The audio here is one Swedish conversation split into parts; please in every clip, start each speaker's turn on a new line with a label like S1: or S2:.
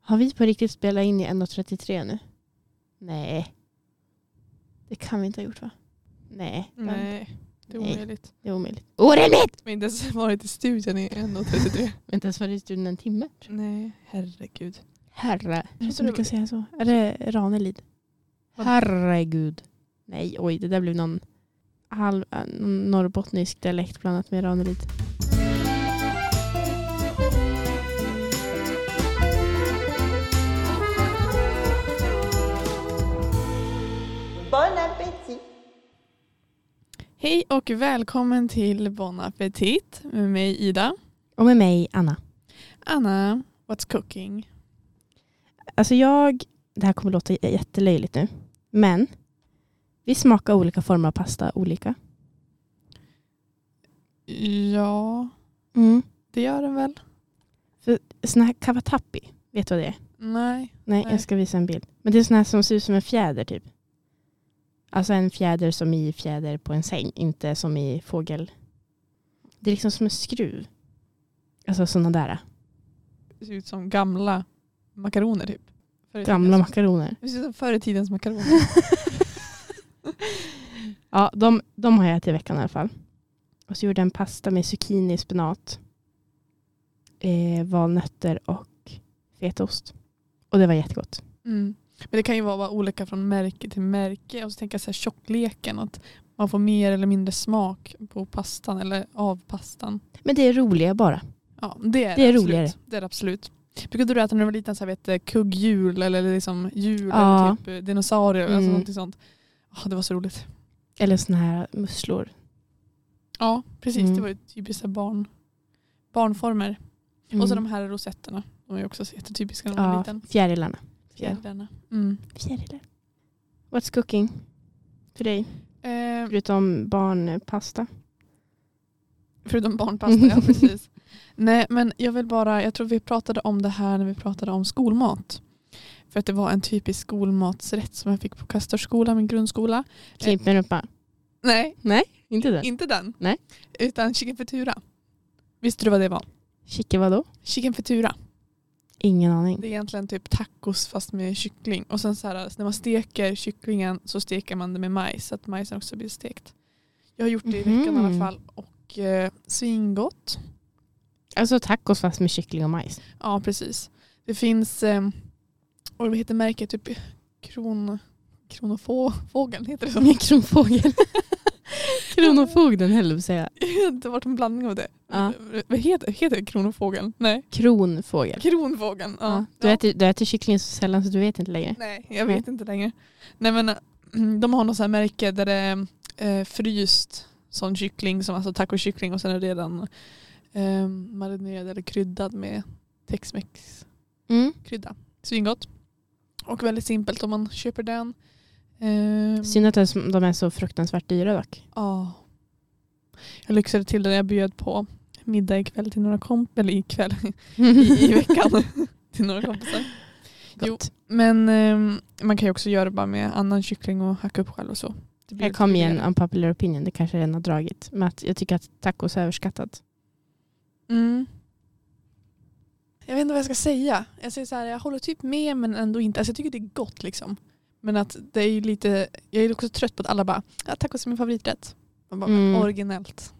S1: Har vi på riktigt spelat in i 1.33 nu? Nej. Det kan vi inte ha gjort va? Nej. det har vi inte.
S2: Nej, det är
S1: Nej.
S2: omöjligt.
S1: Det är omöjligt. Orimligt!
S2: Vi har inte ens varit i studion i 1.33.
S1: Vänta, ens varit i studion en timme.
S2: Nej, herregud.
S1: Herre. Jag tror
S2: Jag
S1: inte
S2: tror-
S1: vi kan säga så. Är det Ranelid?
S2: Vad-
S1: Herregud. Nej, oj, det där blev någon halv, äh, någon norrbottnisk dialekt blandat med Ranelid.
S3: Bon appétit
S2: Hej och välkommen till Bon Appetit med mig Ida.
S1: Och med mig, Anna.
S2: Anna, what's cooking?
S1: Alltså jag, det här kommer låta j- jättelöjligt nu, men vi smakar olika former av pasta olika.
S2: Ja,
S1: Mm.
S2: det gör den väl?
S1: Sån här cavatappi, vet du vad det är?
S2: Nej.
S1: Nej,
S2: Nej.
S1: jag ska visa en bild. Men det är sån här som ser ut som en fjäder typ. Alltså en fjäder som i fjäder på en säng, inte som i fågel. Det är liksom som en skruv. Alltså sådana där
S2: Det ser ut som gamla makaroner typ. Förr i
S1: gamla
S2: tidens-
S1: makaroner.
S2: Det ser ut som förr i tidens makaroner.
S1: Ja, de, de har jag ätit i veckan i alla fall. Och så gjorde jag en pasta med zucchini, spenat, eh, valnötter och fetaost. Och det var jättegott.
S2: Mm. Men det kan ju vara bara olika från märke till märke. Och så tänker jag så här tjockleken. Att man får mer eller mindre smak på pastan eller av pastan.
S1: Men det är roliga bara.
S2: Ja, det är
S1: Det är
S2: absolut.
S1: roligare.
S2: Det är det absolut. Brukade du äta när du var liten så här, vet, du, kugghjul eller liksom djur
S1: Ja.
S2: eller typ eh, dinosaurier?
S1: Mm.
S2: Alltså någonting sånt. Ja, det var så roligt.
S1: Eller såna här musslor.
S2: Ja, precis.
S1: Mm.
S2: Det var ju typiskt så här barn, barnformer. Och så
S1: Mm.
S2: de här rosetterna. De är ju också så jättetypiska när man var
S1: ja,
S2: liten.
S1: fjärilarna.
S2: Fjärilarna. Mm.
S1: Fjärilar. What's cooking för dig?
S2: Eh,
S1: Förutom barnpasta.
S2: Förutom barnpasta, ja precis. Nej men jag vill bara, jag tror vi pratade om det här när vi pratade om skolmat. För att det var en typisk skolmatsrätt som jag fick på Kastorskolan, min grundskola.
S1: Klint med rumpa.
S2: Nej,
S1: Inte det?
S2: inte den.
S1: Nej.
S2: Utan chicken frittura. Visste du vad det var?
S1: Chicken vadå?
S2: Chicken frittura.
S1: Ingen aning.
S2: Det är egentligen typ tacos fast med kyckling. Och sen så här, så när man steker kycklingen så steker man det med majs så att majsen också blir stekt. Jag har gjort det i veckan i
S1: Mhm.
S2: alla fall och eh, svingott.
S1: Alltså tacos fast med kyckling och majs.
S2: Ja, precis. Det finns, eh, och vad heter märket? Typ kron, kronofågeln heter det så.
S1: Med kronfågel. Kronofogden höll jag på att säga.
S2: Det var en blandning av det.
S1: Ja.
S2: Vad heter, heter det? Kronofågeln? Nej,
S1: Kronfågel.
S2: kronfågeln. Ja.
S1: Ja. Du,
S2: Ja.
S1: äter, du äter kyckling så sällan så du vet inte längre.
S2: Nej, jag vet inte längre. Nej, men eh, de har något så här märke där det är eh, fryst sån kyckling, som alltså tacokyckling och sen är det redan eh, marinerad eller kryddad med texmex
S1: Mm.
S2: krydda. Svingott. Och väldigt simpelt om man köper den. Ehm,
S1: Synd att de- de är så fruktansvärt dyra dock.
S2: ja. Jag lyxade till det när jag bjöd på middag ikväll till några kompisar. Eller ikväll, i, i veckan. till några kompisar.
S1: Gott.
S2: Men ehm, man kan ju också göra det bara med annan kyckling och hacka upp själv och så. Det blir
S1: Här
S2: lite
S1: kom igen
S2: billigare.
S1: unpopular opinion, det kanske redan har dragit. Men att jag tycker att tacos är överskattat.
S2: Mm. Jag vet inte vad jag ska säga. Jag, säger så här, jag håller typ med men ändå inte. Alltså, jag tycker det är gott liksom. Men att det är ju lite, jag är också trött på att alla bara, ja, tacos är min favoriträtt. Man bara,
S1: Mm.
S2: men originellt.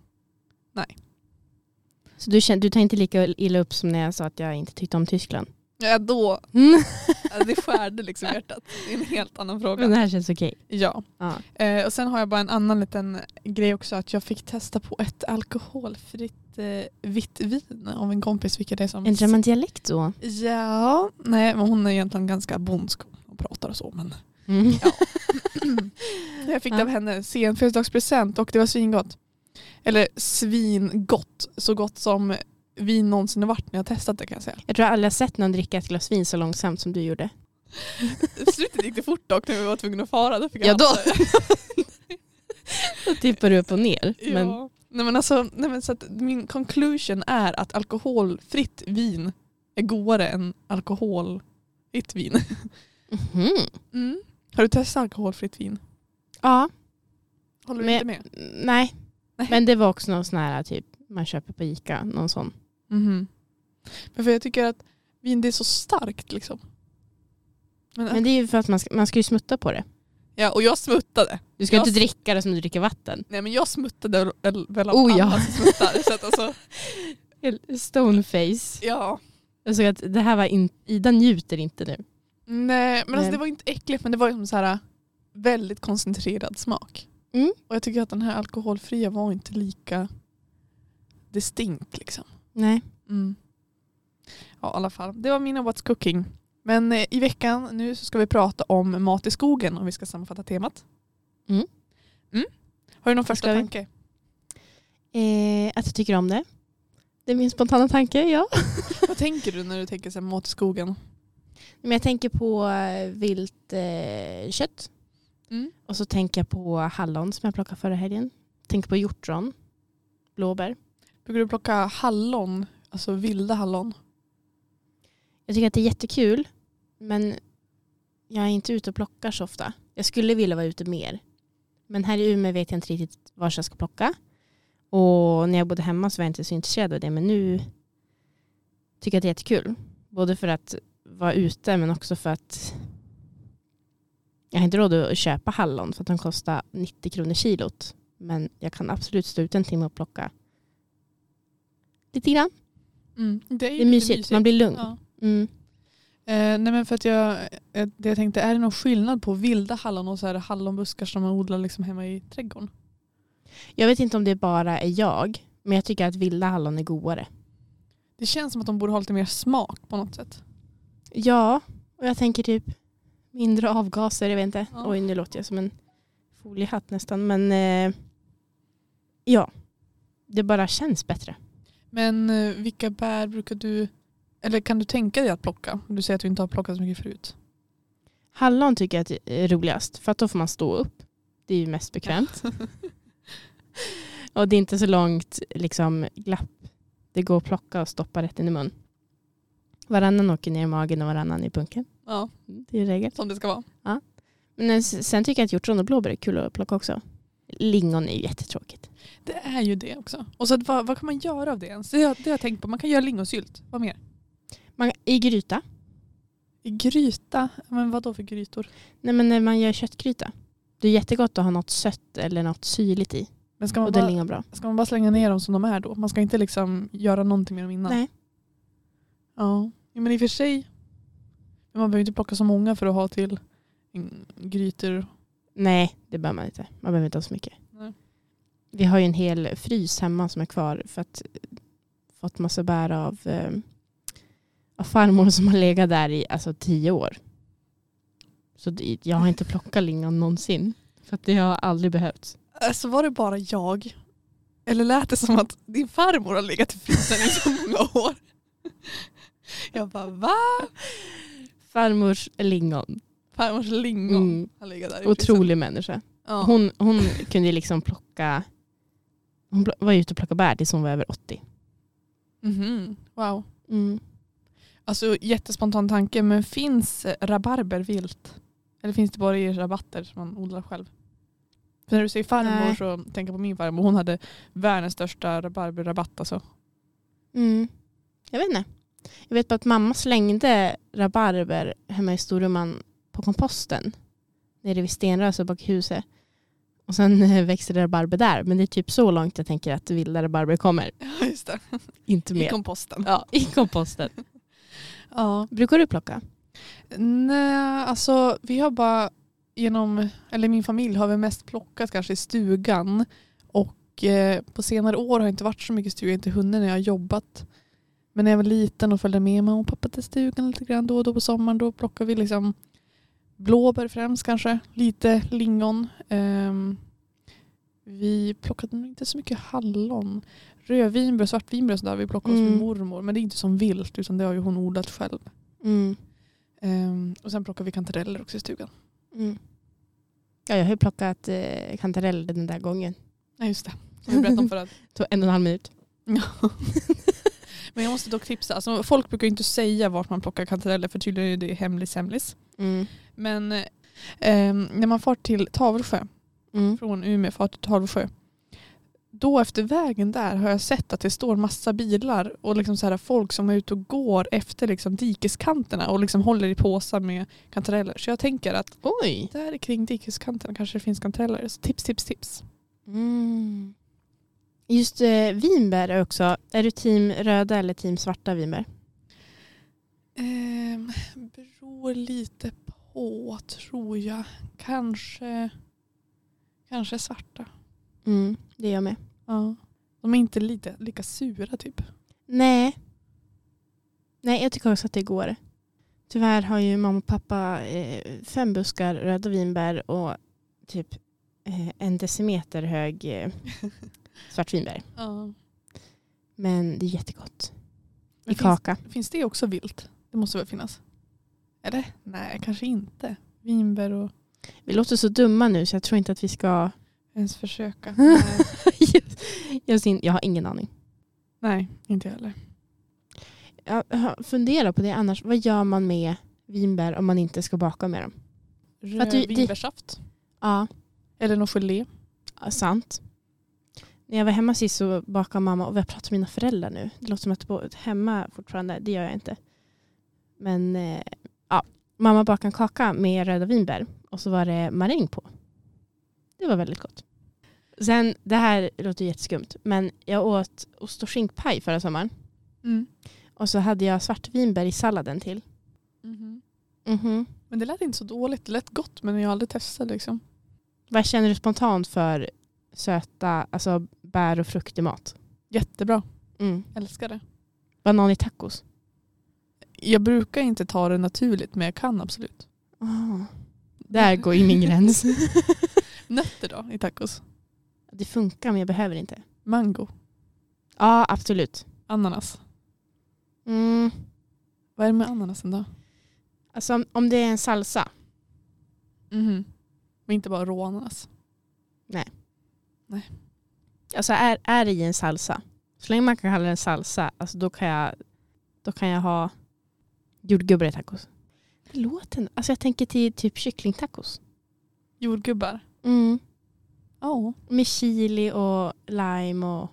S1: Så du, känner, du tar inte lika illa upp som när jag sa att jag inte tyckte om Tyskland?
S2: Ja då,
S1: Mm.
S2: alltså, det skärde liksom hjärtat. Det är en helt annan
S1: Men
S2: fråga.
S1: det här känns okej.
S2: Ja.
S1: Ja.
S2: Eh, och sen har jag bara en annan liten grej också. Att jag fick testa på ett alkoholfritt eh, vitt vin av en kompis. Vilket är som
S1: Ändrar man dialekt då?
S2: Ja, nej men hon är egentligen ganska bondsk. Hon pratar och så men
S1: Mm.
S2: Jag fick det av henne, sen födelsedagspresent och det var svingott. Eller svingott, så gott som vin någonsin har varit när jag har testat det kan jag säga.
S1: Jag tror aldrig jag sett någon dricka ett glas vin så långsamt som du gjorde.
S2: I Slutet gick det fort dock när vi var tvungna att fara. Då fick
S1: Ja,
S2: jag
S1: då.
S2: alltså-
S1: Då tippar du upp och ner. Men
S2: ja. Nej, men alltså, nej, men så att min conclusion är att alkoholfritt vin är godare än alkoholfritt vin.
S1: Mhm.
S2: Mm. Har du testat alkoholfritt vin?
S1: ja,
S2: Håller du
S1: Men-
S2: inte med?
S1: nej.
S2: Nej.
S1: Men det var också någon sån här typ man köper på Ica, någon sån.
S2: Mhm. Men för jag tycker att Vin det är så starkt liksom. Men,
S1: Men det är ju för att man ska, man ska ju smutta på det.
S2: ja, och jag smuttade.
S1: Du ska
S2: Jag-
S1: inte dricka det som du dricker vatten.
S2: Nej men jag smuttade väl, väl av
S1: Oh, ja.
S2: alla som smuttar. Så att alltså,
S1: Stoneface.
S2: ja.
S1: Jag såg att det här var in, Ida njuter inte nu.
S2: Nej men alltså,
S1: Nej.
S2: det var inte äckligt men det var ju som så här äh, väldigt koncentrerad smak.
S1: Mm.
S2: Och jag tycker att den här alkoholfria var inte lika distinkt liksom.
S1: Nej.
S2: Mm. Ja, i alla fall. Det var mina What's Cooking. Men eh, i veckan nu så ska vi prata om mat i skogen om vi ska sammanfatta temat.
S1: Mm.
S2: Mm. Har du någon första
S1: ska vi.
S2: tanke?
S1: Eh, att jag tycker om det. Det är min spontana tanke, ja.
S2: Vad tänker du när du tänker så här, mat i skogen?
S1: Men jag tänker på eh, vilt eh, kött.
S2: Mm.
S1: Och så tänker jag på hallon som jag plockade förra helgen. Tänker på hjortron. Blåbär.
S2: Brukar du plocka hallon? Alltså vilda hallon?
S1: Jag tycker att det är jättekul. Men jag är inte ute och plockar så ofta. Jag skulle vilja vara ute mer. Men här i Umeå vet jag inte riktigt var jag ska plocka. Och när jag bodde hemma så var jag inte så intresserad av det. Men nu tycker jag att det är jättekul. Både för att vara ute men också för att jag har inte råd att köpa hallon för att de kostar 90 kronor kilot. Men jag kan absolut stå ute en timme och plocka. Lite grann.
S2: Det är, ju
S1: Mm. Det är
S2: lite
S1: mysigt. Man blir lugn.
S2: Ja.
S1: Mm.
S2: Eh, nej men för att jag, eh, det jag tänkte, är det någon skillnad på vilda hallon och så här hallonbuskar som man odlar liksom hemma i trädgården?
S1: Jag vet inte om det bara är jag, men jag tycker att vilda hallon är godare.
S2: Det känns som att de borde ha lite mer smak på något sätt.
S1: Ja, och jag tänker typ mindre avgaser, jag vet inte.
S2: Ja.
S1: Oj, nu låter jag som en foliehatt nästan. Men eh, ja, det bara känns bättre.
S2: Men eh, vilka bär brukar du, eller kan du tänka dig att plocka? Du säger att du inte har plockat så mycket förut.
S1: Hallon tycker jag att är roligast, för att då får man stå upp. Det är ju mest bekvämt. och det är inte så långt liksom, glapp. Det går att plocka och stoppa rätt in i mun. Varannan åker ner i magen och varannan i punken.
S2: Ja,
S1: Det är ju regel.
S2: som det ska vara.
S1: Men s- sen tycker jag att hjortron och blåbär är kul att plocka också. Lingon är ju jättetråkigt.
S2: Det är ju det också. Och så att, vad, vad kan man göra av det ens? Det, har- det har jag tänkt på. Man kan göra lingonsylt. Vad mer?
S1: Man, I gryta.
S2: I gryta. Men vad då för grytor?
S1: Nej men när man gör köttgryta. Det är jättegott att ha något sött eller något syrligt i.
S2: Men ska
S1: och
S2: man,
S1: då är
S2: bara,
S1: lingon bra.
S2: ska man bara slänga ner dem som de är då? Man ska inte liksom göra någonting med dem innan?
S1: Nej.
S2: Ja, Ja, men i och för sig. Men man behöver inte plocka så många för att ha till mm, grytor.
S1: Nej, det behöver man inte. Man behöver inte ha så mycket.
S2: Nej.
S1: Vi har ju en hel frys hemma som är kvar för att eh, fått massa bär av, eh, av farmor som har legat där i alltså, tio år. Så det, jag har inte plockat lingon någonsin. För att det har aldrig behövts.
S2: Alltså var det bara jag? Eller lät det som att din farmor har legat i frysen i så många år? Jag bara va?
S1: Farmors lingon.
S2: Farmors lingon
S1: Mm.
S2: har legat där i frysen.
S1: Otrolig människa.
S2: Ja.
S1: Hon, hon kunde ju liksom plocka, hon pl- var ju ute och plockade bär tills hon var över 80.
S2: Mhm. Wow.
S1: Mm.
S2: Alltså jättespontan tanke men finns eh, rabarber vilt? Eller finns det bara i rabatter som man odlar själv? För när du säger farmor
S1: Nej.
S2: så tänker jag på min farmor. Hon hade världens största rabarberrabatt alltså.
S1: Mm. Jag vet inte. Jag vet bara att mamma slängde rabarber hemma i Storuman på komposten nere vid Stenröset bak i huset. Och sen eh, växte det rabarber där. Men det är typ så långt jag tänker att vilda rabarber kommer.
S2: Ja just det.
S1: Inte
S2: I
S1: mer.
S2: komposten.
S1: ja, I komposten.
S2: Ja.
S1: Brukar du plocka?
S2: Nej, alltså vi har bara genom, eller min familj har vi mest plockat kanske i stugan. Och eh, på senare år har jag inte varit så mycket i stugan, inte hunnit när jag har jobbat. Men när jag var liten och följde med mamma och pappa till stugan lite grann då och då på sommaren då plockade vi liksom blåbär främst kanske, lite lingon. Ehm, vi plockade nog inte så mycket hallon. Rödvinbär och svartvinbär och sådär vi plockade hos
S1: Mm.
S2: min mormor. Men det är inte som vilt utan det har ju hon odlat själv.
S1: Mm.
S2: Ehm, och sen plockar vi kantareller också i stugan.
S1: Mm. Ja, jag har ju plockat eh, kantareller den där gången.
S2: Nej just det, som vi berättade om förut.
S1: Det tog en och en halv minut.
S2: Men jag måste dock tipsa, alltså, folk brukar ju inte säga vart man plockar kantareller för tydligen är det hemlis hemlis.
S1: Mm.
S2: Men eh, ehm, när man far till Tavelsjö,
S1: Mm.
S2: från Umeå far till Tavelsjö, då efter vägen där har jag sett att det står massa bilar och liksom så här folk som är ute och går efter liksom dikeskanterna och liksom håller i påsar med kantareller. Så jag tänker att
S1: Oj!
S2: där kring dikeskanterna kanske det finns kantareller. Så tips, tips, tips.
S1: Mm. Just eh, vinbär är också. Är du team röda eller team svarta vinbär?
S2: Ehm, beror lite på tror jag. Kanske, kanske svarta.
S1: Mm, det är jag med.
S2: Ja. De är inte lite, lika sura typ.
S1: Nej. Nej, jag tycker också att det går. Tyvärr har ju mamma och pappa eh, fem buskar röda vinbär och typ eh, en decimeter hög eh, svartvinbär.
S2: Ja.
S1: Men det är jättegott. I
S2: Men finns,
S1: kaka.
S2: finns det också vilt? Det måste väl finnas? Eller? Nej, kanske inte. Vinbär och
S1: Vi låter så dumma nu så jag tror inte att vi ska...
S2: ens försöka. Nej.
S1: jag, syn- jag har ingen aning.
S2: Nej, inte jag heller.
S1: Jag har- funderar på det annars. Vad gör man med vinbär om man inte ska baka med dem? att du-
S2: Röd
S1: det-
S2: vinbärssaft.
S1: Ja,
S2: Eller någon gelé.
S1: Ja, sant. När jag var hemma sist så bakade mamma, och jag pratar med mina föräldrar nu. Det låter som att jag bor hemma fortfarande, det gör jag inte. Men eh, ja, mamma bakade en kaka med röda vinbär och så var det maräng på. Det var väldigt gott. Sen, det här låter jätteskumt, men jag åt ost och skinkpaj förra sommaren. Och så hade jag svartvinbär i salladen till.
S2: Mhm. Men det lät inte så dåligt. Det lät gott men jag har aldrig testat liksom.
S1: Vad känner du spontant för söta alltså bär och frukt i mat?
S2: Jättebra.
S1: Mm.
S2: Älskar det.
S1: Banan i tacos?
S2: Jag brukar inte ta det naturligt men jag kan absolut.
S1: Ah. Där går ju min gräns.
S2: Nötter då i tacos?
S1: Det funkar men jag behöver inte.
S2: Mango?
S1: Ja, absolut.
S2: Ananas?
S1: Mm.
S2: Vad är det med ananasen då?
S1: Alltså, om- om det är en salsa.
S2: Mhm. Men inte bara rå ananas.
S1: Alltså är, är det i en salsa. Så länge man kan kalla det en salsa, alltså, då, kan jag, då kan jag ha jordgubbar i tacos. Det låter... ändå- Alltså jag tänker till typ kycklingtacos.
S2: Jordgubbar?
S1: Mm.
S2: Ja.
S1: Med chili och lime och...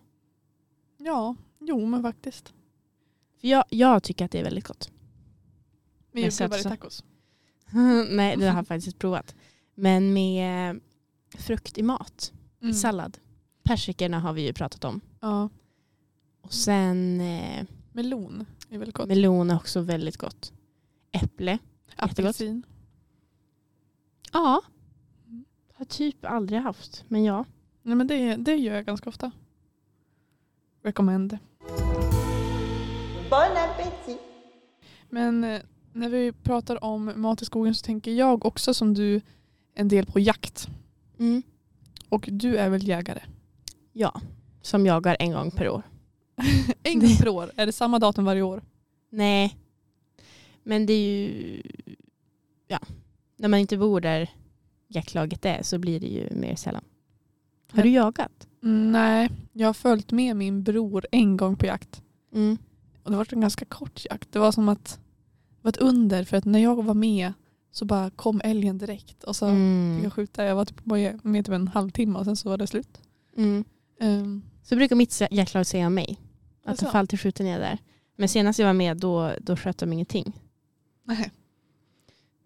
S2: Ja, jo men faktiskt.
S1: För jag, jag tycker att det är väldigt gott.
S2: Med
S1: Men så
S2: jordgubbar i
S1: att så-
S2: tacos.
S1: Nej, det har jag faktiskt provat. Men med eh, frukt i mat.
S2: Mm.
S1: Sallad. Persikorna har vi ju pratat om.
S2: Ja. Mm.
S1: Och sen eh,
S2: Melon är väl gott.
S1: melon är också väldigt gott. Äpple.
S2: Apelsin.
S1: Ja.
S2: Mm.
S1: Har typ aldrig haft, men ja.
S2: Nej men det, det gör jag ganska ofta. Recommend.
S3: Bon appétit.
S2: Men eh, när vi pratar om mat i skogen så tänker jag också som du en del på jakt. Och du är väl jägare?
S1: Mm. Ja. Som jagar en gång per år.
S2: En gång per år? Är det samma datum varje år?
S1: Nej. Men det är ju... Ja. När man inte bor där jaktlaget är så blir det ju mer sällan. Har
S2: Ja.
S1: du jagat?
S2: Mm, Nej, jag har följt med min bror en gång på jakt. Och det var en ganska kort jakt. Det var som att det var ett under för att när jag var med så bara kom älgen direkt och så fick
S1: Mm.
S2: jag skjuta. Jag var typ bara med typ en halvtimme och sen så var det slut.
S1: Mm.
S2: Ehm,
S1: Så brukar mitt sä- jaktlag säga om mig. Att
S2: Alltså?
S1: alltså. fall till skjuter ner där. Men senast jag var med då, då sköt de ingenting.
S2: nej.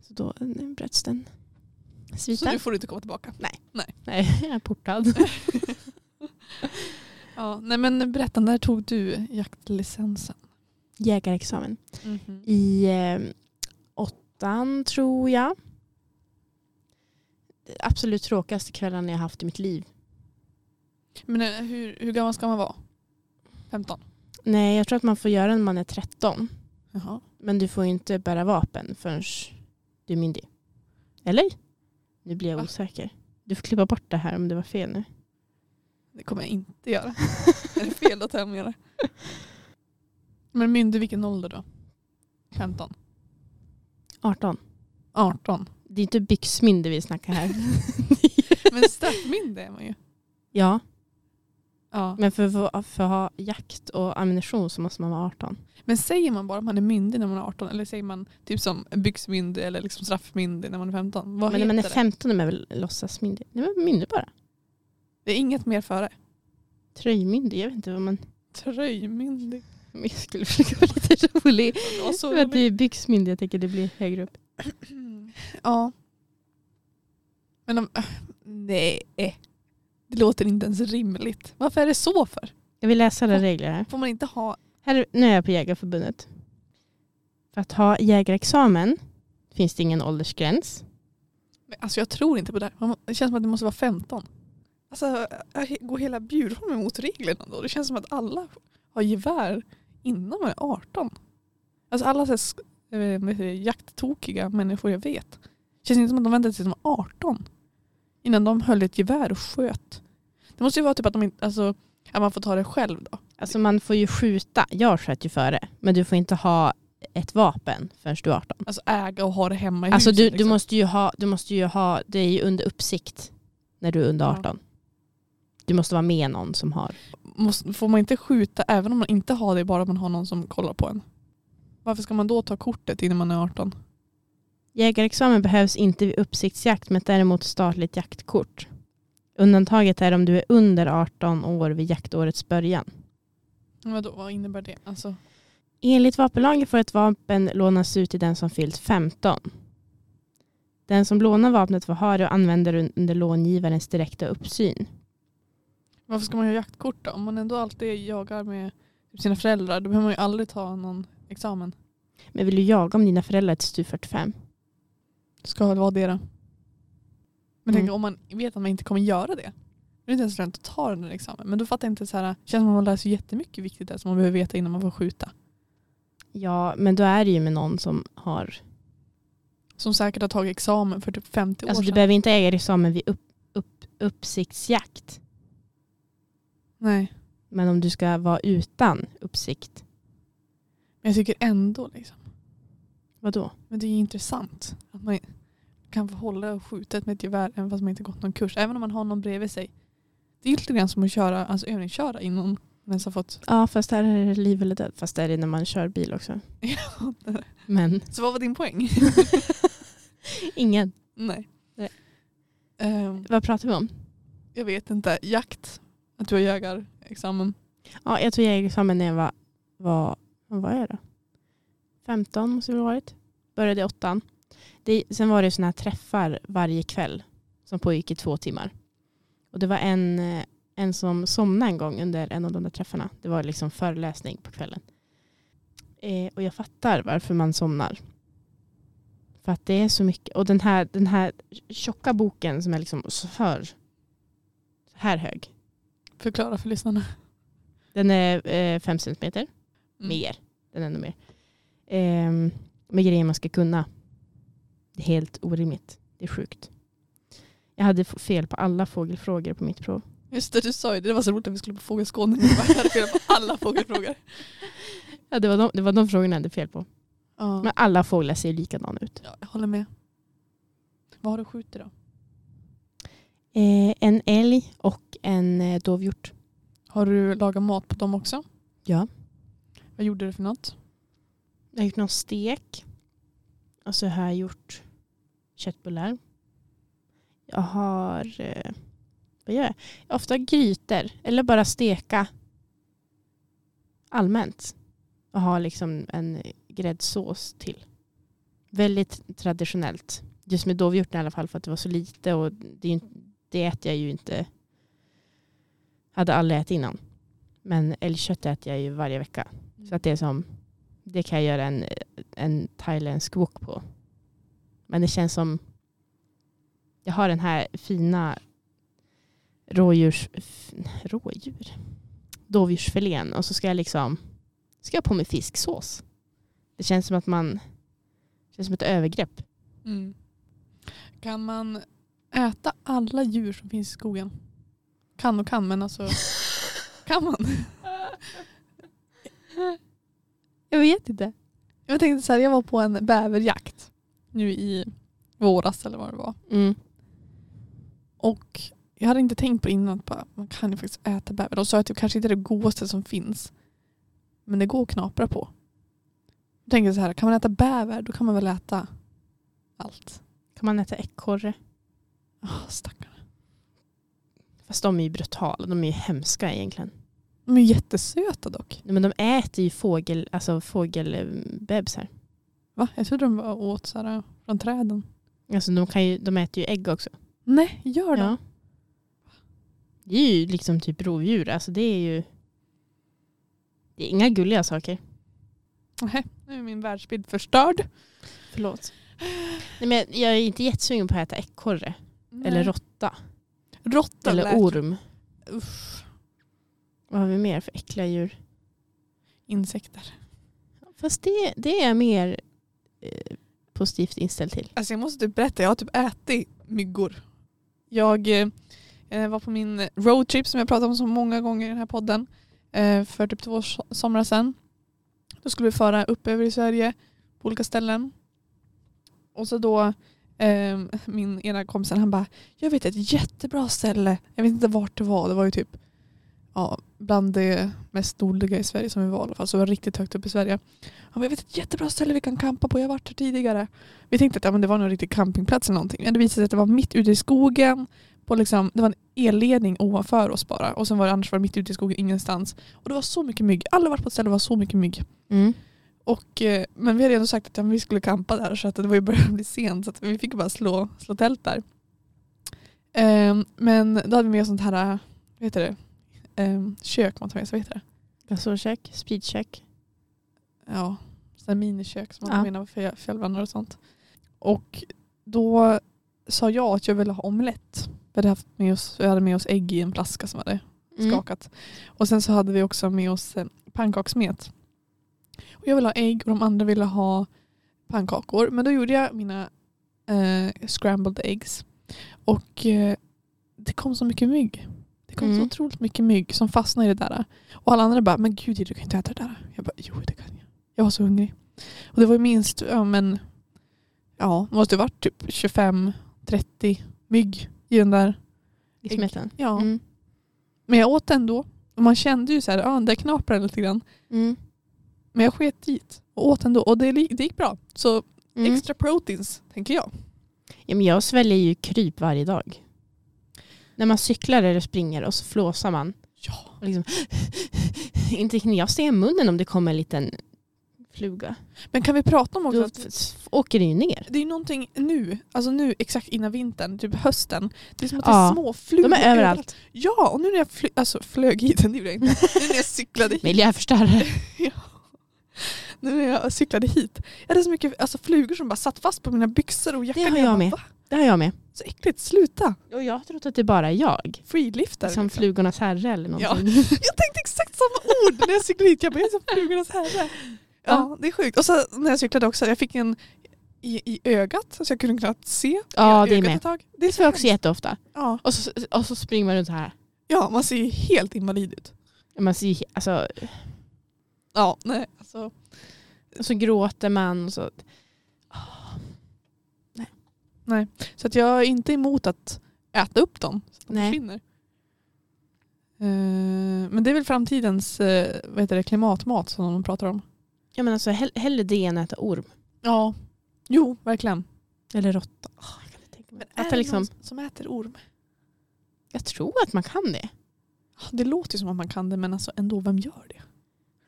S1: Så då eh, bröts den.
S2: Så
S1: Sviten.
S2: nu får du inte komma tillbaka.
S1: Nej, jag är portad.
S2: Ja, nej men berätta, när tog du jaktlicensen?
S1: Jägarexamen. I eh, åttan tror jag. Det Absolut tråkigaste kvällen jag haft i mitt liv.
S2: Men eh, hur, hur gammal ska man vara? 15?
S1: Nej, jag tror att man får göra när man är 13.
S2: Jaha.
S1: Men du får ju inte bära vapen förrän du är myndig. Eller? Nu blir jag
S2: Va?
S1: osäker. Du får klippa bort det här om det var fel nu.
S2: Det kommer jag inte göra. är det fel att jag menar? Men myndig vilken ålder då? 15?
S1: 18.
S2: 18?
S1: Det är inte byxmyndig vi snackar här.
S2: Men straffmyndig är man ju.
S1: ja,
S2: Ja.
S1: men för, för, för att ha jakt och ammunition så måste man vara 18.
S2: Men säger man bara att man är myndig när man är 18 eller säger man typ som byxmyndig eller liksom straffmyndig när man är 15?
S1: men när
S2: Vad heter
S1: man är
S2: det?
S1: 15 är man väl låtsasmyndig? Nej, men myndig bara.
S2: Det är inget mer före.
S1: Tröjmyndig, jag vet inte vad man...
S2: Tröjmyndig.
S1: Jag skulle försöka vara lite rolig.
S2: Och så
S1: För att det är byxmyndig, jag tänker det blir högre upp.
S2: Ja. Men om, nej. Det låter inte ens rimligt. Varför är det så för?
S1: Jag vill läsa alla
S2: Ja.
S1: regler här.
S2: Får man inte ha...
S1: här. Nu är jag på Jägarförbundet. För att ha jägarexamen finns det ingen åldersgräns.
S2: Men Alltså jag tror inte på det här. Man må- Det känns som att det måste vara 15. Alltså jag går hela Bjurholm emot reglerna då? Det känns som att alla har gevär innan man är 18. Alltså alla så här, sk- eh, vad heter det, jakttokiga människor jag vet. Känns inte som att de väntade tills de var 18. Innan de höll ett gevär och sköt. Det måste ju vara typ att, de inte, alltså, att man får ta det själv då.
S1: Alltså man får ju skjuta, jag sköt ju före, men du får inte ha ett vapen förrän du är 18.
S2: Alltså äga och ha det hemma i
S1: Alltså
S2: huset.
S1: du, du,
S2: liksom.
S1: måste ju ha, du måste ju ha, det är ju under uppsikt när du är under
S2: Ja.
S1: 18. Du måste vara med någon som har.
S2: måste, får man inte skjuta även om man inte har det, bara om man har någon som kollar på en? Varför ska man då ta kortet innan man är 18?
S1: Jägarexamen behövs inte vid uppsiktsjakt men däremot statligt jaktkort. Undantaget är om du är under 18 år vid jaktårets början.
S2: Vadå, vad innebär det? Alltså,
S1: Enligt vapenlagen får ett vapen lånas ut till den som fyllt 15. Den som lånar vapnet får ha det och använder det under långivarens direkta uppsyn.
S2: varför ska man ha jaktkort då? Om man ändå alltid jagar med typ sina föräldrar, då behöver man ju aldrig ta någon examen.
S1: Men vill du jaga om dina föräldrar tills du är 45?
S2: Mm. Ska väl vara det då.
S1: Mm.
S2: Men tänk om man vet att man inte kommer göra det. Då är det inte ens lönt att ta den där examen. Men då fattar jag inte så här, känns som att man lär sig jättemycket viktigt där som man behöver veta innan man får skjuta.
S1: Ja, men då är det ju med någon som har...
S2: Som säkert har tagit examen för typ 50
S1: Alltså
S2: år
S1: du
S2: sedan.
S1: behöver inte äga dig examen vid upp, upp, uppsiktsjakt.
S2: Nej.
S1: Men om du ska vara utan uppsikt,
S2: Men jag tycker ändå liksom.
S1: vadå?
S2: Men det är ju intressant att man kan få hålla och skjuta med ett gevär även fast man inte gått någon kurs. Även om man har någon bredvid sig. Det är ju lite grann som att köra, alltså övningsköra innan man ens har fått...
S1: Ja, fast här är det liv eller död. Fast det är det när man kör bil också. Men
S2: Så vad var din poäng?
S1: ingen.
S2: Nej.
S1: Nej.
S2: Ehm,
S1: Vad pratar vi om?
S2: jag vet inte. Jakt. Att du har jägarexamen.
S1: Ja, jag tog jägarexamen när jag var, var, vad var jag då? 15 måste det väl ha varit. Började i åttan. Det, sen var det sådana här träffar varje kväll som pågick i två timmar. Och det var en, eh, en som somnade en gång under en av de där träffarna. Det var liksom föreläsning på kvällen. Eh, och jag fattar varför man somnar. För att det är så mycket. Och den här, den här tjocka boken som är liksom så här, så här hög.
S2: Förklara för lyssnarna.
S1: Den är eh, fem centimeter
S2: Mm.
S1: mer. Den är ännu mer. Ehm, med grejer man ska kunna. Det är helt orimligt. Det är sjukt. Jag hade f- fel på alla fågelfrågor på mitt prov.
S2: Just det, du sa ju det. Det var så roligt att vi skulle på fågelskådning. Vi bara hade fel på alla fågelfrågor.
S1: Ja, det, var de, det var de frågorna jag hade fel på.
S2: Ja.
S1: Men alla fåglar ser likadana ut.
S2: Ja, jag håller med. Vad har du skjutit då?
S1: Eh, en älg och en eh, dovhjort.
S2: Har du lagat mat på dem också?
S1: Ja.
S2: Vad gjorde du för något?
S1: Jag har gjort någon stek. Och så har jag gjort köttbullar. Jag har... Eh, vad gör jag? jag ofta grytor. Eller bara steka allmänt. Och ha liksom en gräddsås till. Väldigt traditionellt. Just med dovhjorten i alla fall för att det var så lite. Och det, är ju inte- det äter jag ju inte. Hade aldrig ätit innan. Men älgkött äter jag ju varje vecka. Så att det är som det kan jag göra en, en thailändsk wok på. Men det känns som jag har den här fina rådjurs, f- rådjur? dovdjursfilén och så ska jag liksom ska jag på med fisksås. Det känns som att man känns som ett övergrepp.
S2: Mm. Kan man äta alla djur som finns i skogen? Kan och kan, men alltså
S1: Mm.
S2: kan man?
S1: Jag vet inte.
S2: Jag tänkte så här, jag var på en bäverjakt nu i våras eller vad det var.
S1: Mm.
S2: Och jag hade inte tänkt på det innan, att bara, man kan ju faktiskt äta bäver. De sa att det kanske inte är det godaste som finns, men det går att knapra på. Jag tänkte så här, kan man äta bäver, då kan man väl äta allt.
S1: Kan man äta ekorre?
S2: Ah, Oh, stackarn.
S1: Fast de är ju brutala, de är ju hemska egentligen.
S2: De är jättesöta dock.
S1: Nej, Men de äter ju fågel, alltså fågelbebisar.
S2: Va? Jag trodde de var åt så här, från träden.
S1: Alltså de, kan ju, de äter ju ägg också.
S2: Nej, gör de?
S1: Ja. Det är ju liksom typ rovdjur, alltså det är ju det är inga gulliga saker.
S2: Nähä, nu är min världsbild förstörd.
S1: Förlåt. Nej, men jag är inte jättesugen på att äta ekorre eller råtta
S2: råtta.
S1: eller
S2: lät-
S1: orm.
S2: Usch,
S1: Vad har vi mer för äckliga djur?
S2: insekter.
S1: Fast det, det är jag mer eh, positivt inställd till.
S2: Alltså jag måste typ berätta, jag har typ ätit myggor. Jag eh, eh, var på min roadtrip som jag pratat om så många gånger i den här podden eh, för typ två so- somrar sedan. Då skulle vi föra upp över i Sverige på olika ställen. Och så då eh, min ena kompisen han bara, jag vet ett jättebra ställe. Jag vet inte vart det var, det var ju typ ja, bland det mest nordliga i Sverige som vi var i alla fall. Så det var riktigt högt upp i Sverige. Han bara, jag vet ett jättebra ställe vi kan campa på, jag har varit här tidigare. Vi tänkte att ja, men det var någon riktig campingplats eller någonting. Men det visade sig att det var mitt ute i skogen. På liksom, det var en elledning ovanför oss bara. Och sen var det annars var det mitt ute i skogen ingenstans. Och det var så mycket mygg. Alla varit på ett ställe och det var så mycket mygg. Och, eh, men vi hade ändå sagt att ja, men vi skulle campa där så att det var ju börjat bli sent så att vi fick bara slå, slå tält där. Ehm, men då hade vi med oss sånt här, eh, vad heter det, Ehm, kök man tar med sig, vad heter det?
S1: Gasolkök, spritkök.
S2: ja, sådana här minikök som man
S1: Ja.
S2: har mina fjä- fjällvandrar och sånt. Och då sa jag att jag ville ha omelett. Vi hade, haft med oss, vi hade med oss ägg i en flaska som hade
S1: Mm.
S2: skakat. Och sen så hade vi också med oss eh, pannkakssmet. Och jag ville ha ägg och de andra ville ha pannkakor. Men då gjorde jag mina eh, scrambled eggs. Och eh, det kom så mycket mygg. Det kom så
S1: Mm.
S2: otroligt mycket mygg som fastnade i det där. Och alla andra bara, men gud du kan inte äta det där. Jag bara, jo det kan jag. Jag var så hungrig. Och det var ju minst, ja men, ja, det måste ha varit typ 25-30 mygg i den där.
S1: I smeten.
S2: Ja.
S1: Mm.
S2: Men jag åt ändå. Och man kände ju så här, ja där knaprar det lite grann.
S1: Mm.
S2: Men jag sket dit och åt ändå. Och det, li- det gick bra. Så
S1: Mm.
S2: extra proteins, tänker jag.
S1: Ja, men jag sväljer ju kryp varje dag. När man cyklar eller springer och så flåsar man.
S2: Ja.
S1: Och liksom inte hinner jag stänga munnen om det kommer en liten fluga.
S2: Men kan vi prata om också
S1: Då
S2: att
S1: f- åker det ju ner.
S2: det är någonting nu, alltså nu exakt innan vintern, typ hösten. Det är som att det är
S1: Ja.
S2: små flugor
S1: De är överallt.
S2: Ja, och nu när jag fly- alltså, flög hit, det gjorde jag inte. nu när jag cyklade hit.
S1: Miljöförstörare.
S2: Nu när jag cyklade hit. Jag hade så mycket alltså, flugor som bara satt fast på mina byxor och jackan.
S1: Det har
S2: bara,
S1: jag med.
S2: "Va?
S1: Det har jag med.
S2: Så äckligt, sluta.
S1: Och jag har trott att det är bara jag.
S2: Freelifter.
S1: Som
S2: liksom.
S1: flugornas herre eller
S2: Ja.
S1: någonting.
S2: Jag tänkte exakt samma ord när jag cyklade hit. Jag bara, jag är som flugornas herre. Ja, det är sjukt. Och så när jag cyklade också, jag fick en i, i ögat så jag kunde knappt se.
S1: Ja,
S2: i
S1: det är
S2: ögat
S1: med.
S2: ett tag. Det är
S1: Det får
S2: så
S1: jag också
S2: hemskt.
S1: jätteofta.
S2: ja.
S1: Och så, och så springer man runt så här.
S2: ja, man ser ju helt invalid ut.
S1: Man ser, ju- alltså,
S2: Ja, nej. Alltså,
S1: och så gråter man. Och så.
S2: så att jag är inte emot att äta upp dem så att de
S1: Nej.
S2: försvinner. Eh, men det är väl framtidens eh, vad heter det, klimatmat som de pratar om.
S1: Ja, men alltså, hell- hellre det än att äta orm.
S2: Ja, jo, verkligen.
S1: Eller råtta. Åh, jag, kan inte tänka mig. Att det liksom,
S2: som äter orm?
S1: jag tror att man kan det.
S2: Ja, Det låter ju som att man kan det men alltså ändå, vem gör det?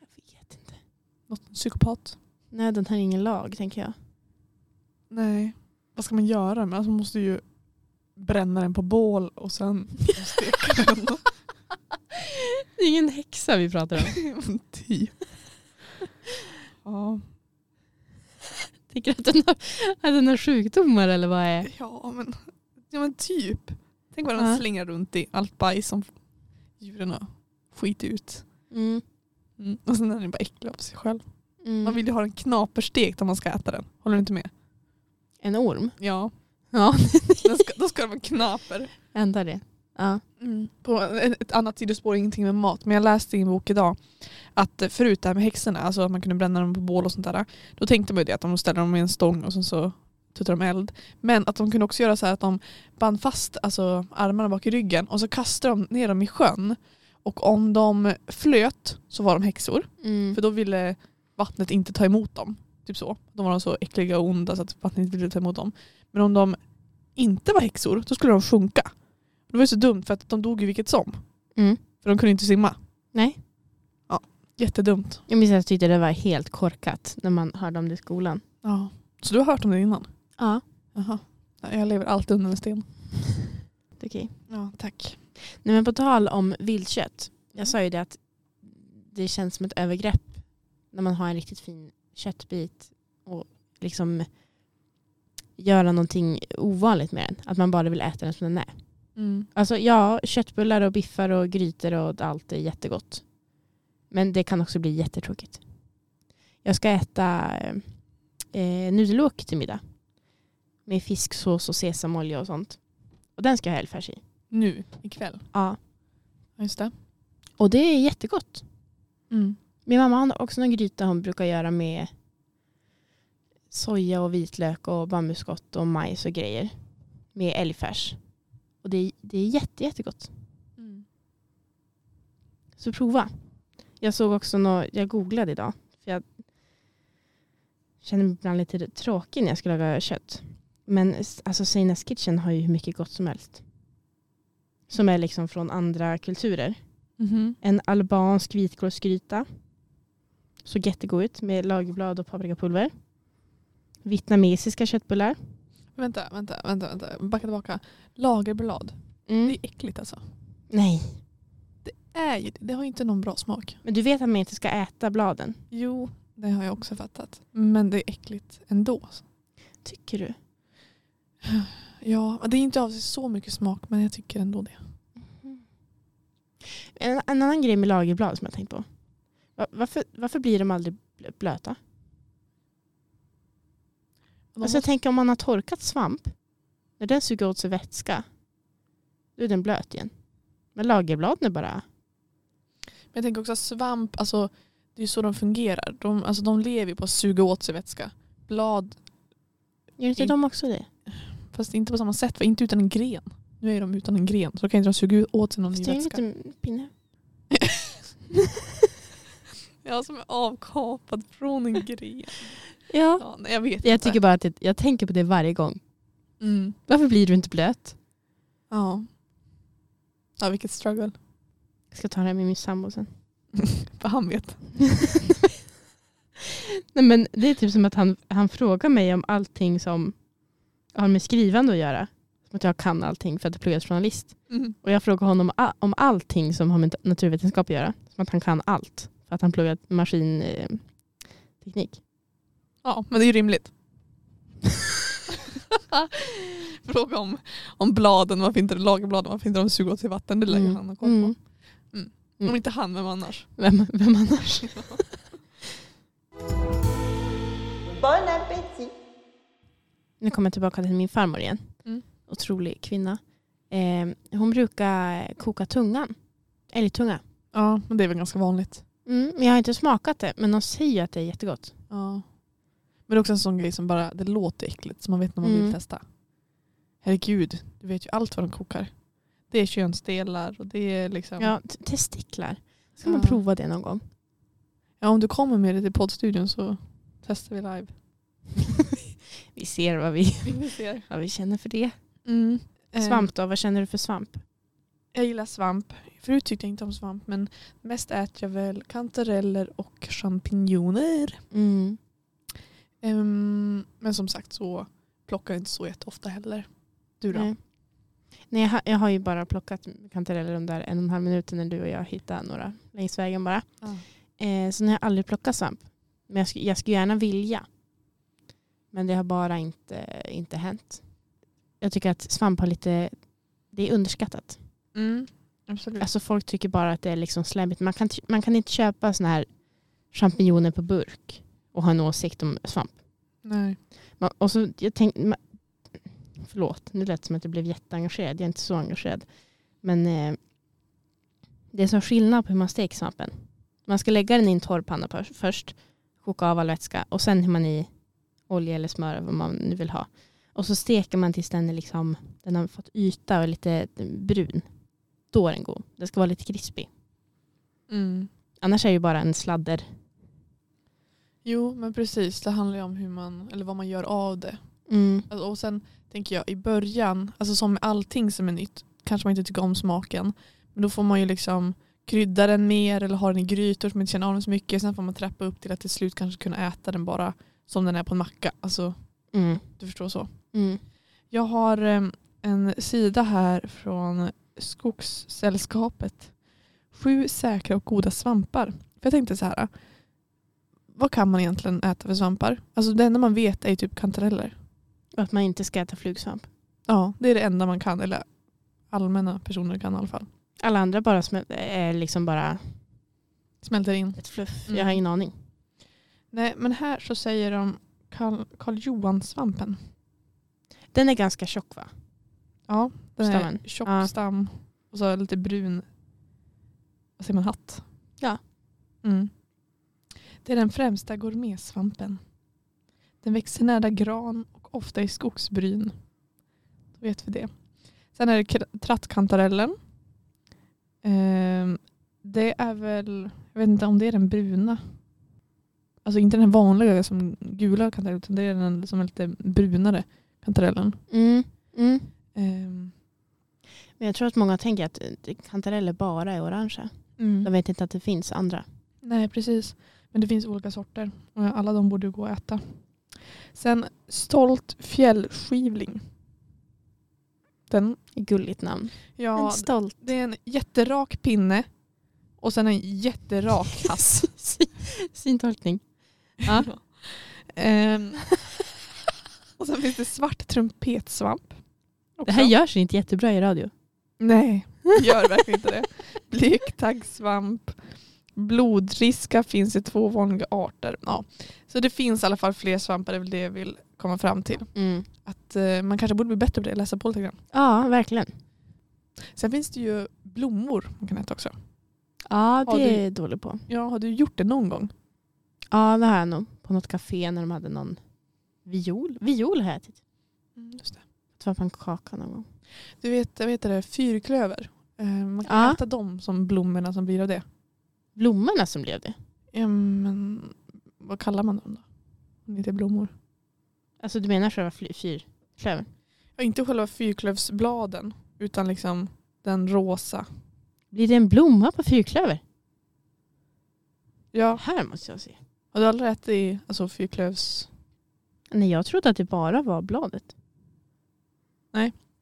S1: Jag vet inte.
S2: Något psykopat?
S1: Nöden har ingen lag, tänker jag.
S2: Nej. Vad ska man göra? Men alltså, man måste ju bränna den på bål och sen steka den.
S1: Det är ingen häxa vi pratar om.
S2: Men typ. Ja.
S1: Tänker att den, har, att den har sjukdomar eller vad är?
S2: Ja, men, ja men typ. Tänk vad den
S1: Ja.
S2: slänger runt i allt bajs som djuren har skit ut.
S1: Mm.
S2: Och sen är den bara äcklig av sig själv.
S1: Mm.
S2: Man vill ju ha den knaperstekt om man ska äta den. Håller du inte med?
S1: En orm?
S2: Ja.
S1: Ja,
S2: Den ska, då ska den vara knaper.
S1: ändra det. Ja.
S2: Mm. På ett annat sidospår, ingenting med mat. Men jag läste i en bok idag att eh, förut det här med häxorna, alltså att man kunde bränna dem på bål och sånt där. Då tänkte man ju det att de ställer dem i en stång och sen så tuttar de eld. Men att de kunde också göra så här att de band fast alltså, armarna bak i ryggen och så kastade de ner dem i sjön. Och om de flöt så var de häxor.
S1: Mm.
S2: För då ville vattnet inte ta emot dem. Typ så. De var så äckliga och onda så att vattnet inte ville ta emot dem. Men om de inte var häxor, då skulle de sjunka. Det var ju så dumt för att de dog ju vilket som.
S1: Mm.
S2: För de kunde inte simma.
S1: Nej.
S2: Jättedumt.
S1: Jag minns att jag tyckte det var helt korkat när man hörde om det i skolan.
S2: Ja. Så du har hört om det innan?
S1: Ja.
S2: Jaha. Ja, Jag lever alltid under en sten.
S1: Okej.
S2: Ja, tack.
S1: Nej, men på tal om viltkött. Jag sa ju det att det känns som ett övergrepp när man har en riktigt fin köttbit och liksom göra någonting ovanligt med den. Att man bara vill äta den som den är.
S2: Mm.
S1: Alltså ja, köttbullar och biffar och grytor och allt är jättegott. Men det kan också bli jättetråkigt. Jag ska äta eh, nudelåk till middag. Med fisksås och sesamolja och sånt. Och den ska jag ha älgfärs i.
S2: Nu, ikväll.
S1: Ja.
S2: Ja, just det.
S1: Och det är jättegott.
S2: Mm.
S1: Min mamma har också någon gryta hon brukar göra med soja och vitlök och bambuskott och majs och grejer. Med älgfärs. Och det, det är jätte, jättegott.
S2: Mm.
S1: Så prova. Jag såg också nå, jag googlade idag. För jag känner mig ibland lite tråkig när jag ska laga kött. Men s- alltså Seinas Kitchen har ju hur mycket gott som helst. Som är liksom från andra kulturer.
S2: Mhm.
S1: En albansk vitkålsgryta. Såg jättegod ut med lagerblad och paprikapulver. Vietnamesiska köttbullar.
S2: Vänta, vänta, vänta, vänta. Backa tillbaka. Lagerblad.
S1: Mm.
S2: Det är äckligt alltså.
S1: Nej,
S2: Är ju, det. det har ju inte någon bra smak.
S1: men du vet att man inte ska äta bladen.
S2: Jo, det har jag också fattat. Men det är äckligt ändå.
S1: Tycker du?
S2: Ja, det är inte av sig så mycket smak men jag tycker ändå det.
S1: En, en annan grej med lagerblad som jag tänkt på. Va- Varför, varför blir de aldrig bl- blöta?
S2: De
S1: Alltså jag tänker om man har torkat svamp, när den suger åt sig vätska, då är den blöt igen. Men lagerbladen är bara...
S2: Men jag tänker också att svamp, alltså, det är ju så de fungerar. De, alltså, de lever ju på att suga åt sig vätska. Blad,
S1: Gör inte
S2: In-
S1: de också det?
S2: fast inte på samma sätt, för inte utan en gren. Nu är de utan en gren, så då kan inte de suga åt sig någon ny
S1: Fast det är en
S2: vätska.
S1: liten pinne.
S2: Jag som är avkapad från en gren.
S1: Ja.
S2: Ja, nej, jag vet
S1: Jag
S2: inte.
S1: tycker bara att det, jag tänker på det varje gång.
S2: Mm.
S1: Varför blir du inte blöt?
S2: Ja. ja, vilket struggle.
S1: Jag ska ta det här med min sambo sen.
S2: För han vet.
S1: Nej, men det är typ som att han, han frågar mig om allting som har med skrivande att göra. Som att jag kan allting för att jag pluggar till journalist.
S2: Mm.
S1: Och jag frågar honom a- om allting som har med naturvetenskap att göra. Som att han kan allt. För att han eh, pluggat maskinteknik.
S2: Ja, men det är ju rimligt. Fråga om, om bladen, varför inte lagerbladen, varför inte de suger åt sig vatten. Det lär ju
S1: Mm.
S2: han ha koll på.
S1: Mm. Mm.
S2: Om inte han, vem annars?
S1: Vem, vem annars?
S3: Bon appétit.
S1: Nu kommer jag tillbaka till min farmor igen.
S2: Mm.
S1: Otrolig kvinna. Eh, hon brukar koka tungan. Älgtunga.
S2: Ja, men det är väl ganska vanligt.
S1: Mm, men jag har inte smakat det. Men de säger ju att det är jättegott.
S2: Ja. Men det är också en sån grej som bara, det låter äckligt så man vet när man
S1: Mm.
S2: vill testa. Herregud, du vet ju allt vad de kokar. Det är könsdelar och det är liksom. Ja.
S1: Ja, t- testiklar. Ska man
S2: Ja.
S1: prova det någon gång?
S2: om du kommer med det till poddstudion så testar vi live.
S1: Vi ser vad vi,
S2: Vi ser.
S1: vad vi känner för det.
S2: Mm. Eh,
S1: Svamp då? Vad känner du för svamp?
S2: Jag gillar svamp. Förut tyckte jag inte om svamp men mest äter jag väl kantareller och champinjoner.
S1: Mm.
S2: Ehm, men som sagt så plockar jag inte så jätteofta heller. Du då?
S1: Nej. Eh. Nej, jag, har, jag har ju bara plockat kantareller under en och en halv minut när du och jag hittade några längs vägen bara.
S2: Ja.
S1: Eh, så nu har jag aldrig plockat svamp. Men jag, sk- jag skulle gärna vilja. Men det har bara inte, inte hänt. Jag tycker att svamp har lite, det är underskattat.
S2: Mm, absolut.
S1: Alltså folk tycker bara att det är liksom slämmigt. Man kan, t- man kan inte köpa såna här champinjoner på burk och ha en åsikt om svamp.
S2: Nej.
S1: Man, och så, jag tänk, ma- förlåt, nu lät det som att jag blev jätteengagerad. Jag är inte så engagerad. Men eh, det är så skillnad på hur man steker svampen. Man ska lägga den i en torr panna för, först, koka av all vätska och sen häller man i olja eller smör vad man nu vill ha. Och så steker man tills den, är liksom, den har fått yta och är lite brun. Då är den god. Den ska vara lite krispig.
S2: Mm.
S1: Annars är det ju bara en sladder.
S2: Jo, men precis. Det handlar ju om hur man, eller vad man Mm. gör av det. Alltså, och sen tänker jag i början, alltså som med allting som är nytt, kanske man inte tycker om smaken. Men då får man ju liksom krydda den mer eller ha den i grytor som inte känner av den så mycket. Sen får man trappa upp till att till slut kanske kunna äta den bara som den är på en macka. Alltså
S1: Mm.
S2: du förstår så.
S1: Mm.
S2: Jag har em, en sida här från Skogssällskapet. Sju säkra och goda svampar. För jag tänkte så här. Vad kan man egentligen äta för svampar? Alltså det enda man vet är ju typ kantareller.
S1: Och att man inte ska äta flugsvamp.
S2: Ja, det är det enda man kan. Eller allmänna personer kan i alla fall.
S1: Alla andra bara smä- är liksom bara
S2: Smälter in.
S1: ett fluff.
S2: Mm.
S1: Jag har ingen aning.
S2: Nej, men här så säger de Karl, Karl Johan-svampen.
S1: Den är ganska tjock va?
S2: Ja, den
S1: Stammen.
S2: är tjock
S1: Ja.
S2: stam och så lite brun vad säger man, hatt.
S1: Ja.
S2: Mm. Det är den främsta gourmetsvampen. Den växer nära gran och ofta i skogsbryn. Då vet vi det. Sen är det kra- trattkantarellen. Ehm, det är väl, jag vet inte om det är den bruna. Alltså inte den vanliga som gula kantarellen utan det är den som är lite brunare kantarellen.
S1: Mm. Mm.
S2: Ehm,
S1: Men jag tror att många tänker att eh, kantareller bara är orangea.
S2: mm.
S1: De vet inte att det finns andra.
S2: Nej, precis. Men det finns olika sorter. Och alla de borde ju gå att äta. Sen stolt fjällskivling. Den,
S1: Gulligt namn.
S2: ja,
S1: en stolt
S2: det är en jätterak pinne och sen en jätterak hatt.
S1: Sin tolkning.
S2: Ja. Ehm, och sen finns det svart trumpetsvamp.
S1: Det
S2: också.
S1: här görs inte jättebra i radio.
S2: Nej, gör verkligen inte det. Blektaggsvamp. Blodriska finns i två vanliga arter. Ja. Så det finns i alla fall fler svampar, det är väl det jag vill komma fram till. Att eh, man kanske borde bli bättre på det, läsa på lite grann.
S1: Mm. Ja, verkligen.
S2: Sen finns det ju blommor man kan äta också.
S1: Ja,
S2: Har
S1: det är jag dålig på.
S2: Ja, har du gjort det någon gång?
S1: Ja, det har jag nog. På något café när de hade någon viol. Viol har jag ätit.
S2: Just det.
S1: Mm, Det var pannkaka någon gång.
S2: Du vet, vad heter det, fyrklöver. Eh, man kan
S1: Ja.
S2: äta dem som blommorna som blir av det.
S1: Blommorna som blev det.
S2: Ja, men vad kallar man dem då? Om det inte är blommor.
S1: Alltså du menar själva fly- fyrklövern?
S2: Ja, inte själva fyrklövsbladen, utan liksom den rosa.
S1: Blir det en blomma på fyrklöver?
S2: Ja,
S1: Här måste jag se.
S2: har du aldrig ätit alltså, fyrklövs...
S1: Nej, jag trodde att det bara var bladet.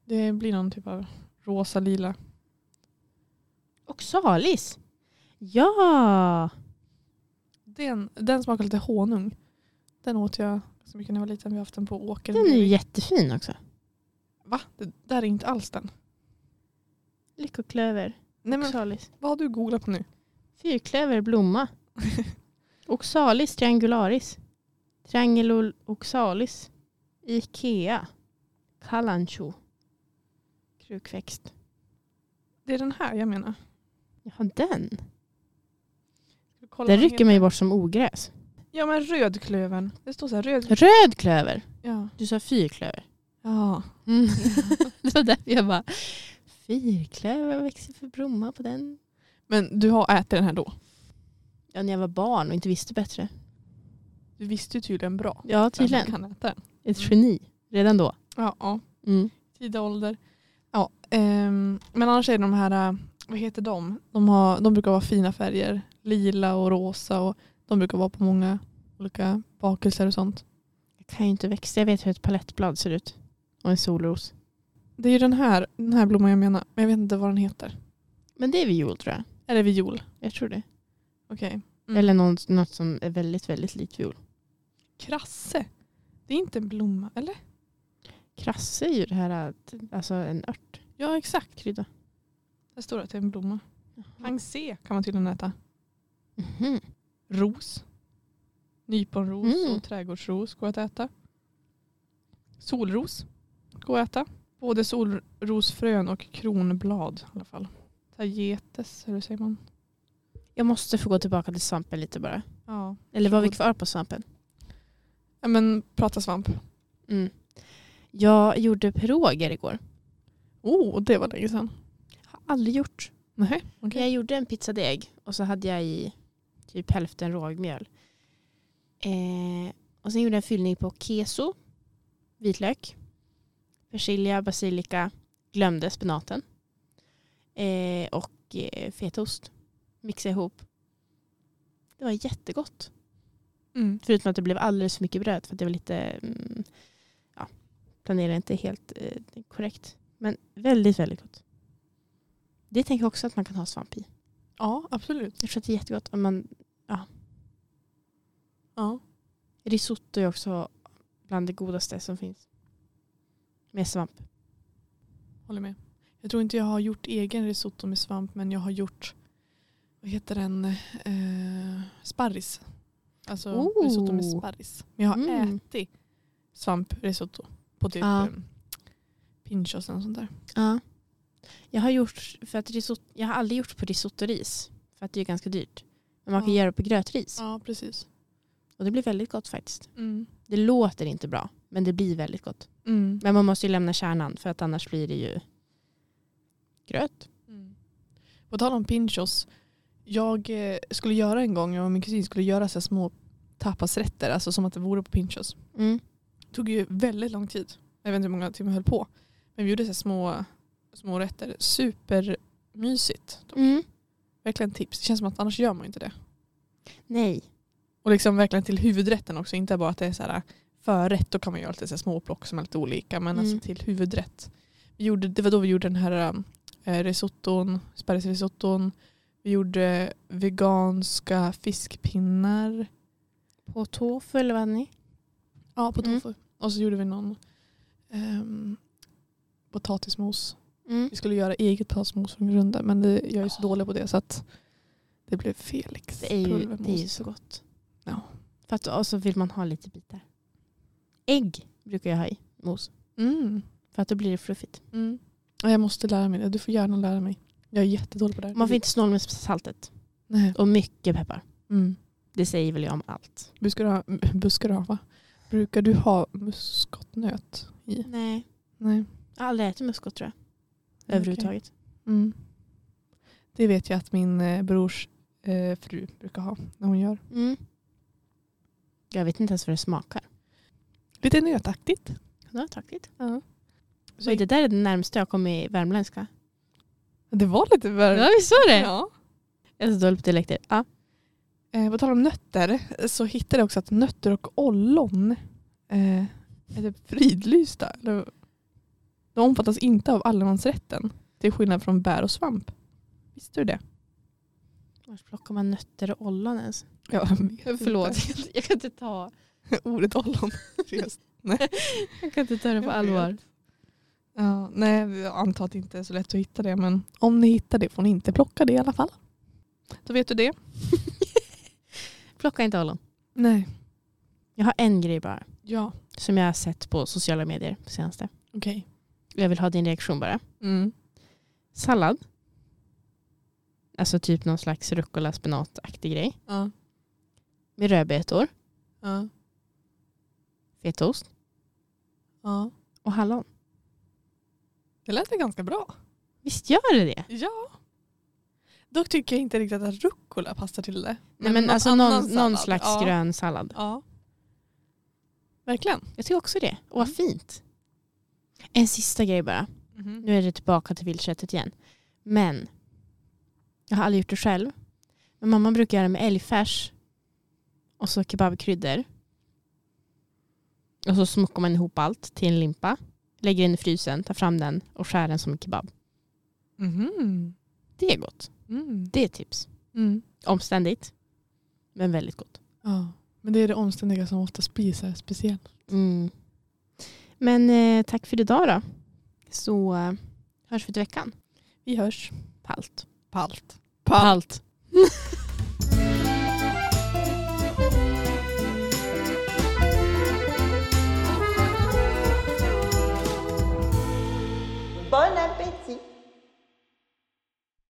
S2: Det blir någon typ av rosa lila.
S1: Och salis. Ja!
S2: Den, den smakar lite honung. Den åt jag så mycket när jag var liten. Vi har haft den på åkern.
S1: Den är ju jättefin också.
S2: Va? Det där är inte alls den.
S1: Lyckoklöver.
S2: Nej, men,
S1: Oxalis.
S2: vad har du googlat på nu?
S1: Fyrklöver, blomma. oxalis triangularis. Triangel oxalis. Ikea. Kalancho. Krukväxt.
S2: Det är den här jag menar.
S1: Jaha, den.
S2: Ska vi kolla
S1: Den
S2: vad den
S1: rycker mig bort som ogräs.
S2: heter? Ja men rödklövern. Det står så här röd.
S1: Röd klöver.
S2: Ja.
S1: Du sa fyrklöver.
S2: ja.
S1: Mm. det var därför jag bara, fyrklöver, vad växer för blomma på den?
S2: Men du har ätit den här då?
S1: Ja, när jag var barn och inte visste bättre.
S2: Du visste ju tydligen bra.
S1: Ja,
S2: vem
S1: tydligen.
S2: Kan äta den.
S1: Ett geni. Redan då.
S2: Ja, ja.
S1: Mm.
S2: Tidig ålder. Ja, ehm, men annars är de här, eh, vad heter de? De, har, de brukar vara fina färger. Lila och rosa och de brukar vara på många olika bakelser och sånt.
S1: Jag kan ju inte växa, jag vet hur ett palettblad ser ut. Och en solros.
S2: Det är ju den här, den här blomman jag menar, men jag vet inte vad den heter.
S1: Men det är viol tror jag.
S2: Är det viol?
S1: Jag tror det.
S2: Okej.
S1: Eller något, något som är väldigt, väldigt likt viol.
S2: Krasse. Det är inte en blomma, eller?
S1: Krasse är ju det här, att- alltså en ört.
S2: Ja, exakt.
S1: Krydda.
S2: Där står det att det är en blomma. Pansé kan man tydligen äta.
S1: Mhm.
S2: Ros. Nyponros
S1: Mm.
S2: och trädgårdsros går att äta. Solros går att äta. Både solrosfrön och kronblad i alla fall. Tagetes, eller hur säger man?
S1: Jag måste få gå tillbaka till svampen lite bara.
S2: Ja.
S1: Eller var vi
S2: Varsågod.
S1: kvar på svampen?
S2: ja men prata svamp.
S1: Mm. Jag gjorde piroger igår.
S2: Oh, det var länge sedan.
S1: Har aldrig gjort.
S2: Nej, okej.
S1: Jag gjorde en pizzadeg och så hade jag i typ hälften rågmjöl. Eh, och sen gjorde jag en fyllning på keso, vitlök, persilja, basilika, glömde spenaten. eh, och eh, fetaost. Mixa ihop. Det var jättegott.
S2: Mm.
S1: Förutom att det blev alldeles för mycket bröd för att det var lite, mm, ja, planerade inte helt eh, korrekt. Men väldigt, väldigt gott. Det tänker jag också att man kan ha svamp i.
S2: Ja, absolut.
S1: Jag tror att det är jättegott om man
S2: Ja.
S1: Risotto är också bland det godaste som finns. Med svamp.
S2: Håller med. Jag tror inte jag har gjort egen risotto med svamp men jag har gjort vad heter den? Eh, sparris. Alltså
S1: Oh.
S2: risotto med sparris. Men jag har
S1: Mm.
S2: ätit svamprisotto på typ
S1: Ja.
S2: ah. pinchos och sånt där.
S1: Ja. Jag har, gjort, för att risotto, jag har aldrig gjort på risottoris. För att det är ganska dyrt. Men man kan
S2: Ja.
S1: göra det på grötris.
S2: Ja, precis.
S1: Och det blir väldigt gott faktiskt.
S2: Mm.
S1: Det låter inte bra. Men det blir väldigt gott.
S2: Mm.
S1: Men man måste ju lämna kärnan. För att annars blir det ju gröt.
S2: Mm. På tal om pinchos. Jag eh, skulle göra en gång, jag och min kusin skulle göra så här små tapasrätter, alltså som att det vore på pinchos.
S1: Mm.
S2: tog ju väldigt lång tid. Jag vet inte hur många timmar vi höll på. Men vi gjorde så här små, små rätter. Supermysigt.
S1: Mm.
S2: Verkligen tips. Det känns som att annars gör man inte det.
S1: Nej.
S2: Och liksom verkligen till huvudrätten också. Inte bara att det är så här äh, förrätt. Då kan man göra lite så här små plock som är lite olika. Men
S1: Mm.
S2: alltså till huvudrätt. Vi gjorde, det var då vi gjorde den här eh, risotton, sparrisrisotton. Vi gjorde veganska fiskpinnar.
S1: På tofu eller vad hade ni?
S2: Ja, på
S1: Mm.
S2: tofu. Och så gjorde vi någon ehm, potatismos.
S1: Mm.
S2: Vi skulle göra eget potatismos från grunden men det, jag är så dålig på det så att det blev Felix
S1: Ah. Det är ju, det är ju
S2: pulvermos.
S1: så gott.
S2: Ja.
S1: För att, och så vill man ha lite bitar. Ägg brukar jag ha i mos.
S2: Mm.
S1: För att då blir det fluffigt.
S2: Mm. Ja, Jag måste lära mig det. Du får gärna lära mig. Jag är jättedålig på det här.
S1: Man får inte snål med saltet.
S2: Nej.
S1: Och mycket peppar.
S2: Mm.
S1: Det säger väl jag om allt.
S2: Buskar, du ha, buskar du ha va? Brukar du ha muskotnöt i?
S1: Nej.
S2: Nej.
S1: Jag har aldrig ätit muskot tror jag.
S2: Okej.
S1: Överhuvudtaget.
S2: Mm. Det vet jag att min eh, brors eh, fru brukar ha när hon gör.
S1: Mm. Jag vet inte ens vad det smakar.
S2: Lite nötaktigt.
S1: Det var tråkigt.
S2: Ja. Så,
S1: Oj, det där är det närmaste jag kom i värmländska.
S2: det var lite värre.
S1: visst var
S2: Ja.
S1: Jag är så dålig på dialekter. Ja.
S2: Eh, på tal om nötter så hittade jag också att nötter och ollon eh, är typ fridlysta. Eller, de omfattas inte av allemansrätten till skillnad från bär och svamp. Visste du det?
S1: Var plockar man nötter och ollon ens?
S2: Ja,
S1: Förlåt, jag kan inte ta,
S2: Ordet ollon.
S1: jag kan inte ta det
S2: på allvar. ja, nej, jag antar att det inte är så lätt att hitta det men om ni hittar det får ni inte plocka det i alla fall. Då vet du det.
S1: Plocka inte ollon.
S2: Nej.
S1: Jag har en grej bara.
S2: Ja,
S1: Som jag har sett på sociala medier på senaste.
S2: okej.
S1: Jag vill ha din reaktion bara.
S2: Mm.
S1: Sallad. Alltså typ någon slags rucola spenataktig grej.
S2: Ja,
S1: Med rödbetor,
S2: ja,
S1: fetaost
S2: ja.
S1: och hallon.
S2: Det lät väl ganska bra.
S1: Visst gör det
S2: Mm,
S1: det?
S2: Ja. Dock tycker jag inte riktigt att rucola passar till det.
S1: Nej, men
S2: någon
S1: alltså
S2: annan
S1: någon, någon
S2: sallad.
S1: slags
S2: ja.
S1: grön sallad.
S2: Ja. Verkligen.
S1: Jag tycker också det. Och
S2: Mm.
S1: vad fint. En sista grej bara.
S2: Mhm.
S1: Nu är det tillbaka till viltköttet igen. Men jag har aldrig gjort det själv. Men mamma brukar göra det med älgfärs och så kebabkryddor. Och så smokar man ihop allt till en limpa. Lägger den i frysen, tar fram den och skär den som en kebab.
S2: Mhm.
S1: Det är gott.
S2: Mm.
S1: Det är ett tips.
S2: Mm.
S1: Omständigt. Men väldigt gott.
S2: Ja. Men det är det omständiga som oftast blir så här speciellt.
S1: Mm. Men eh, tack för idag då. Så eh, hörs vi till veckan.
S2: Vi hörs.
S1: Palt.
S2: Palt.
S1: Palt.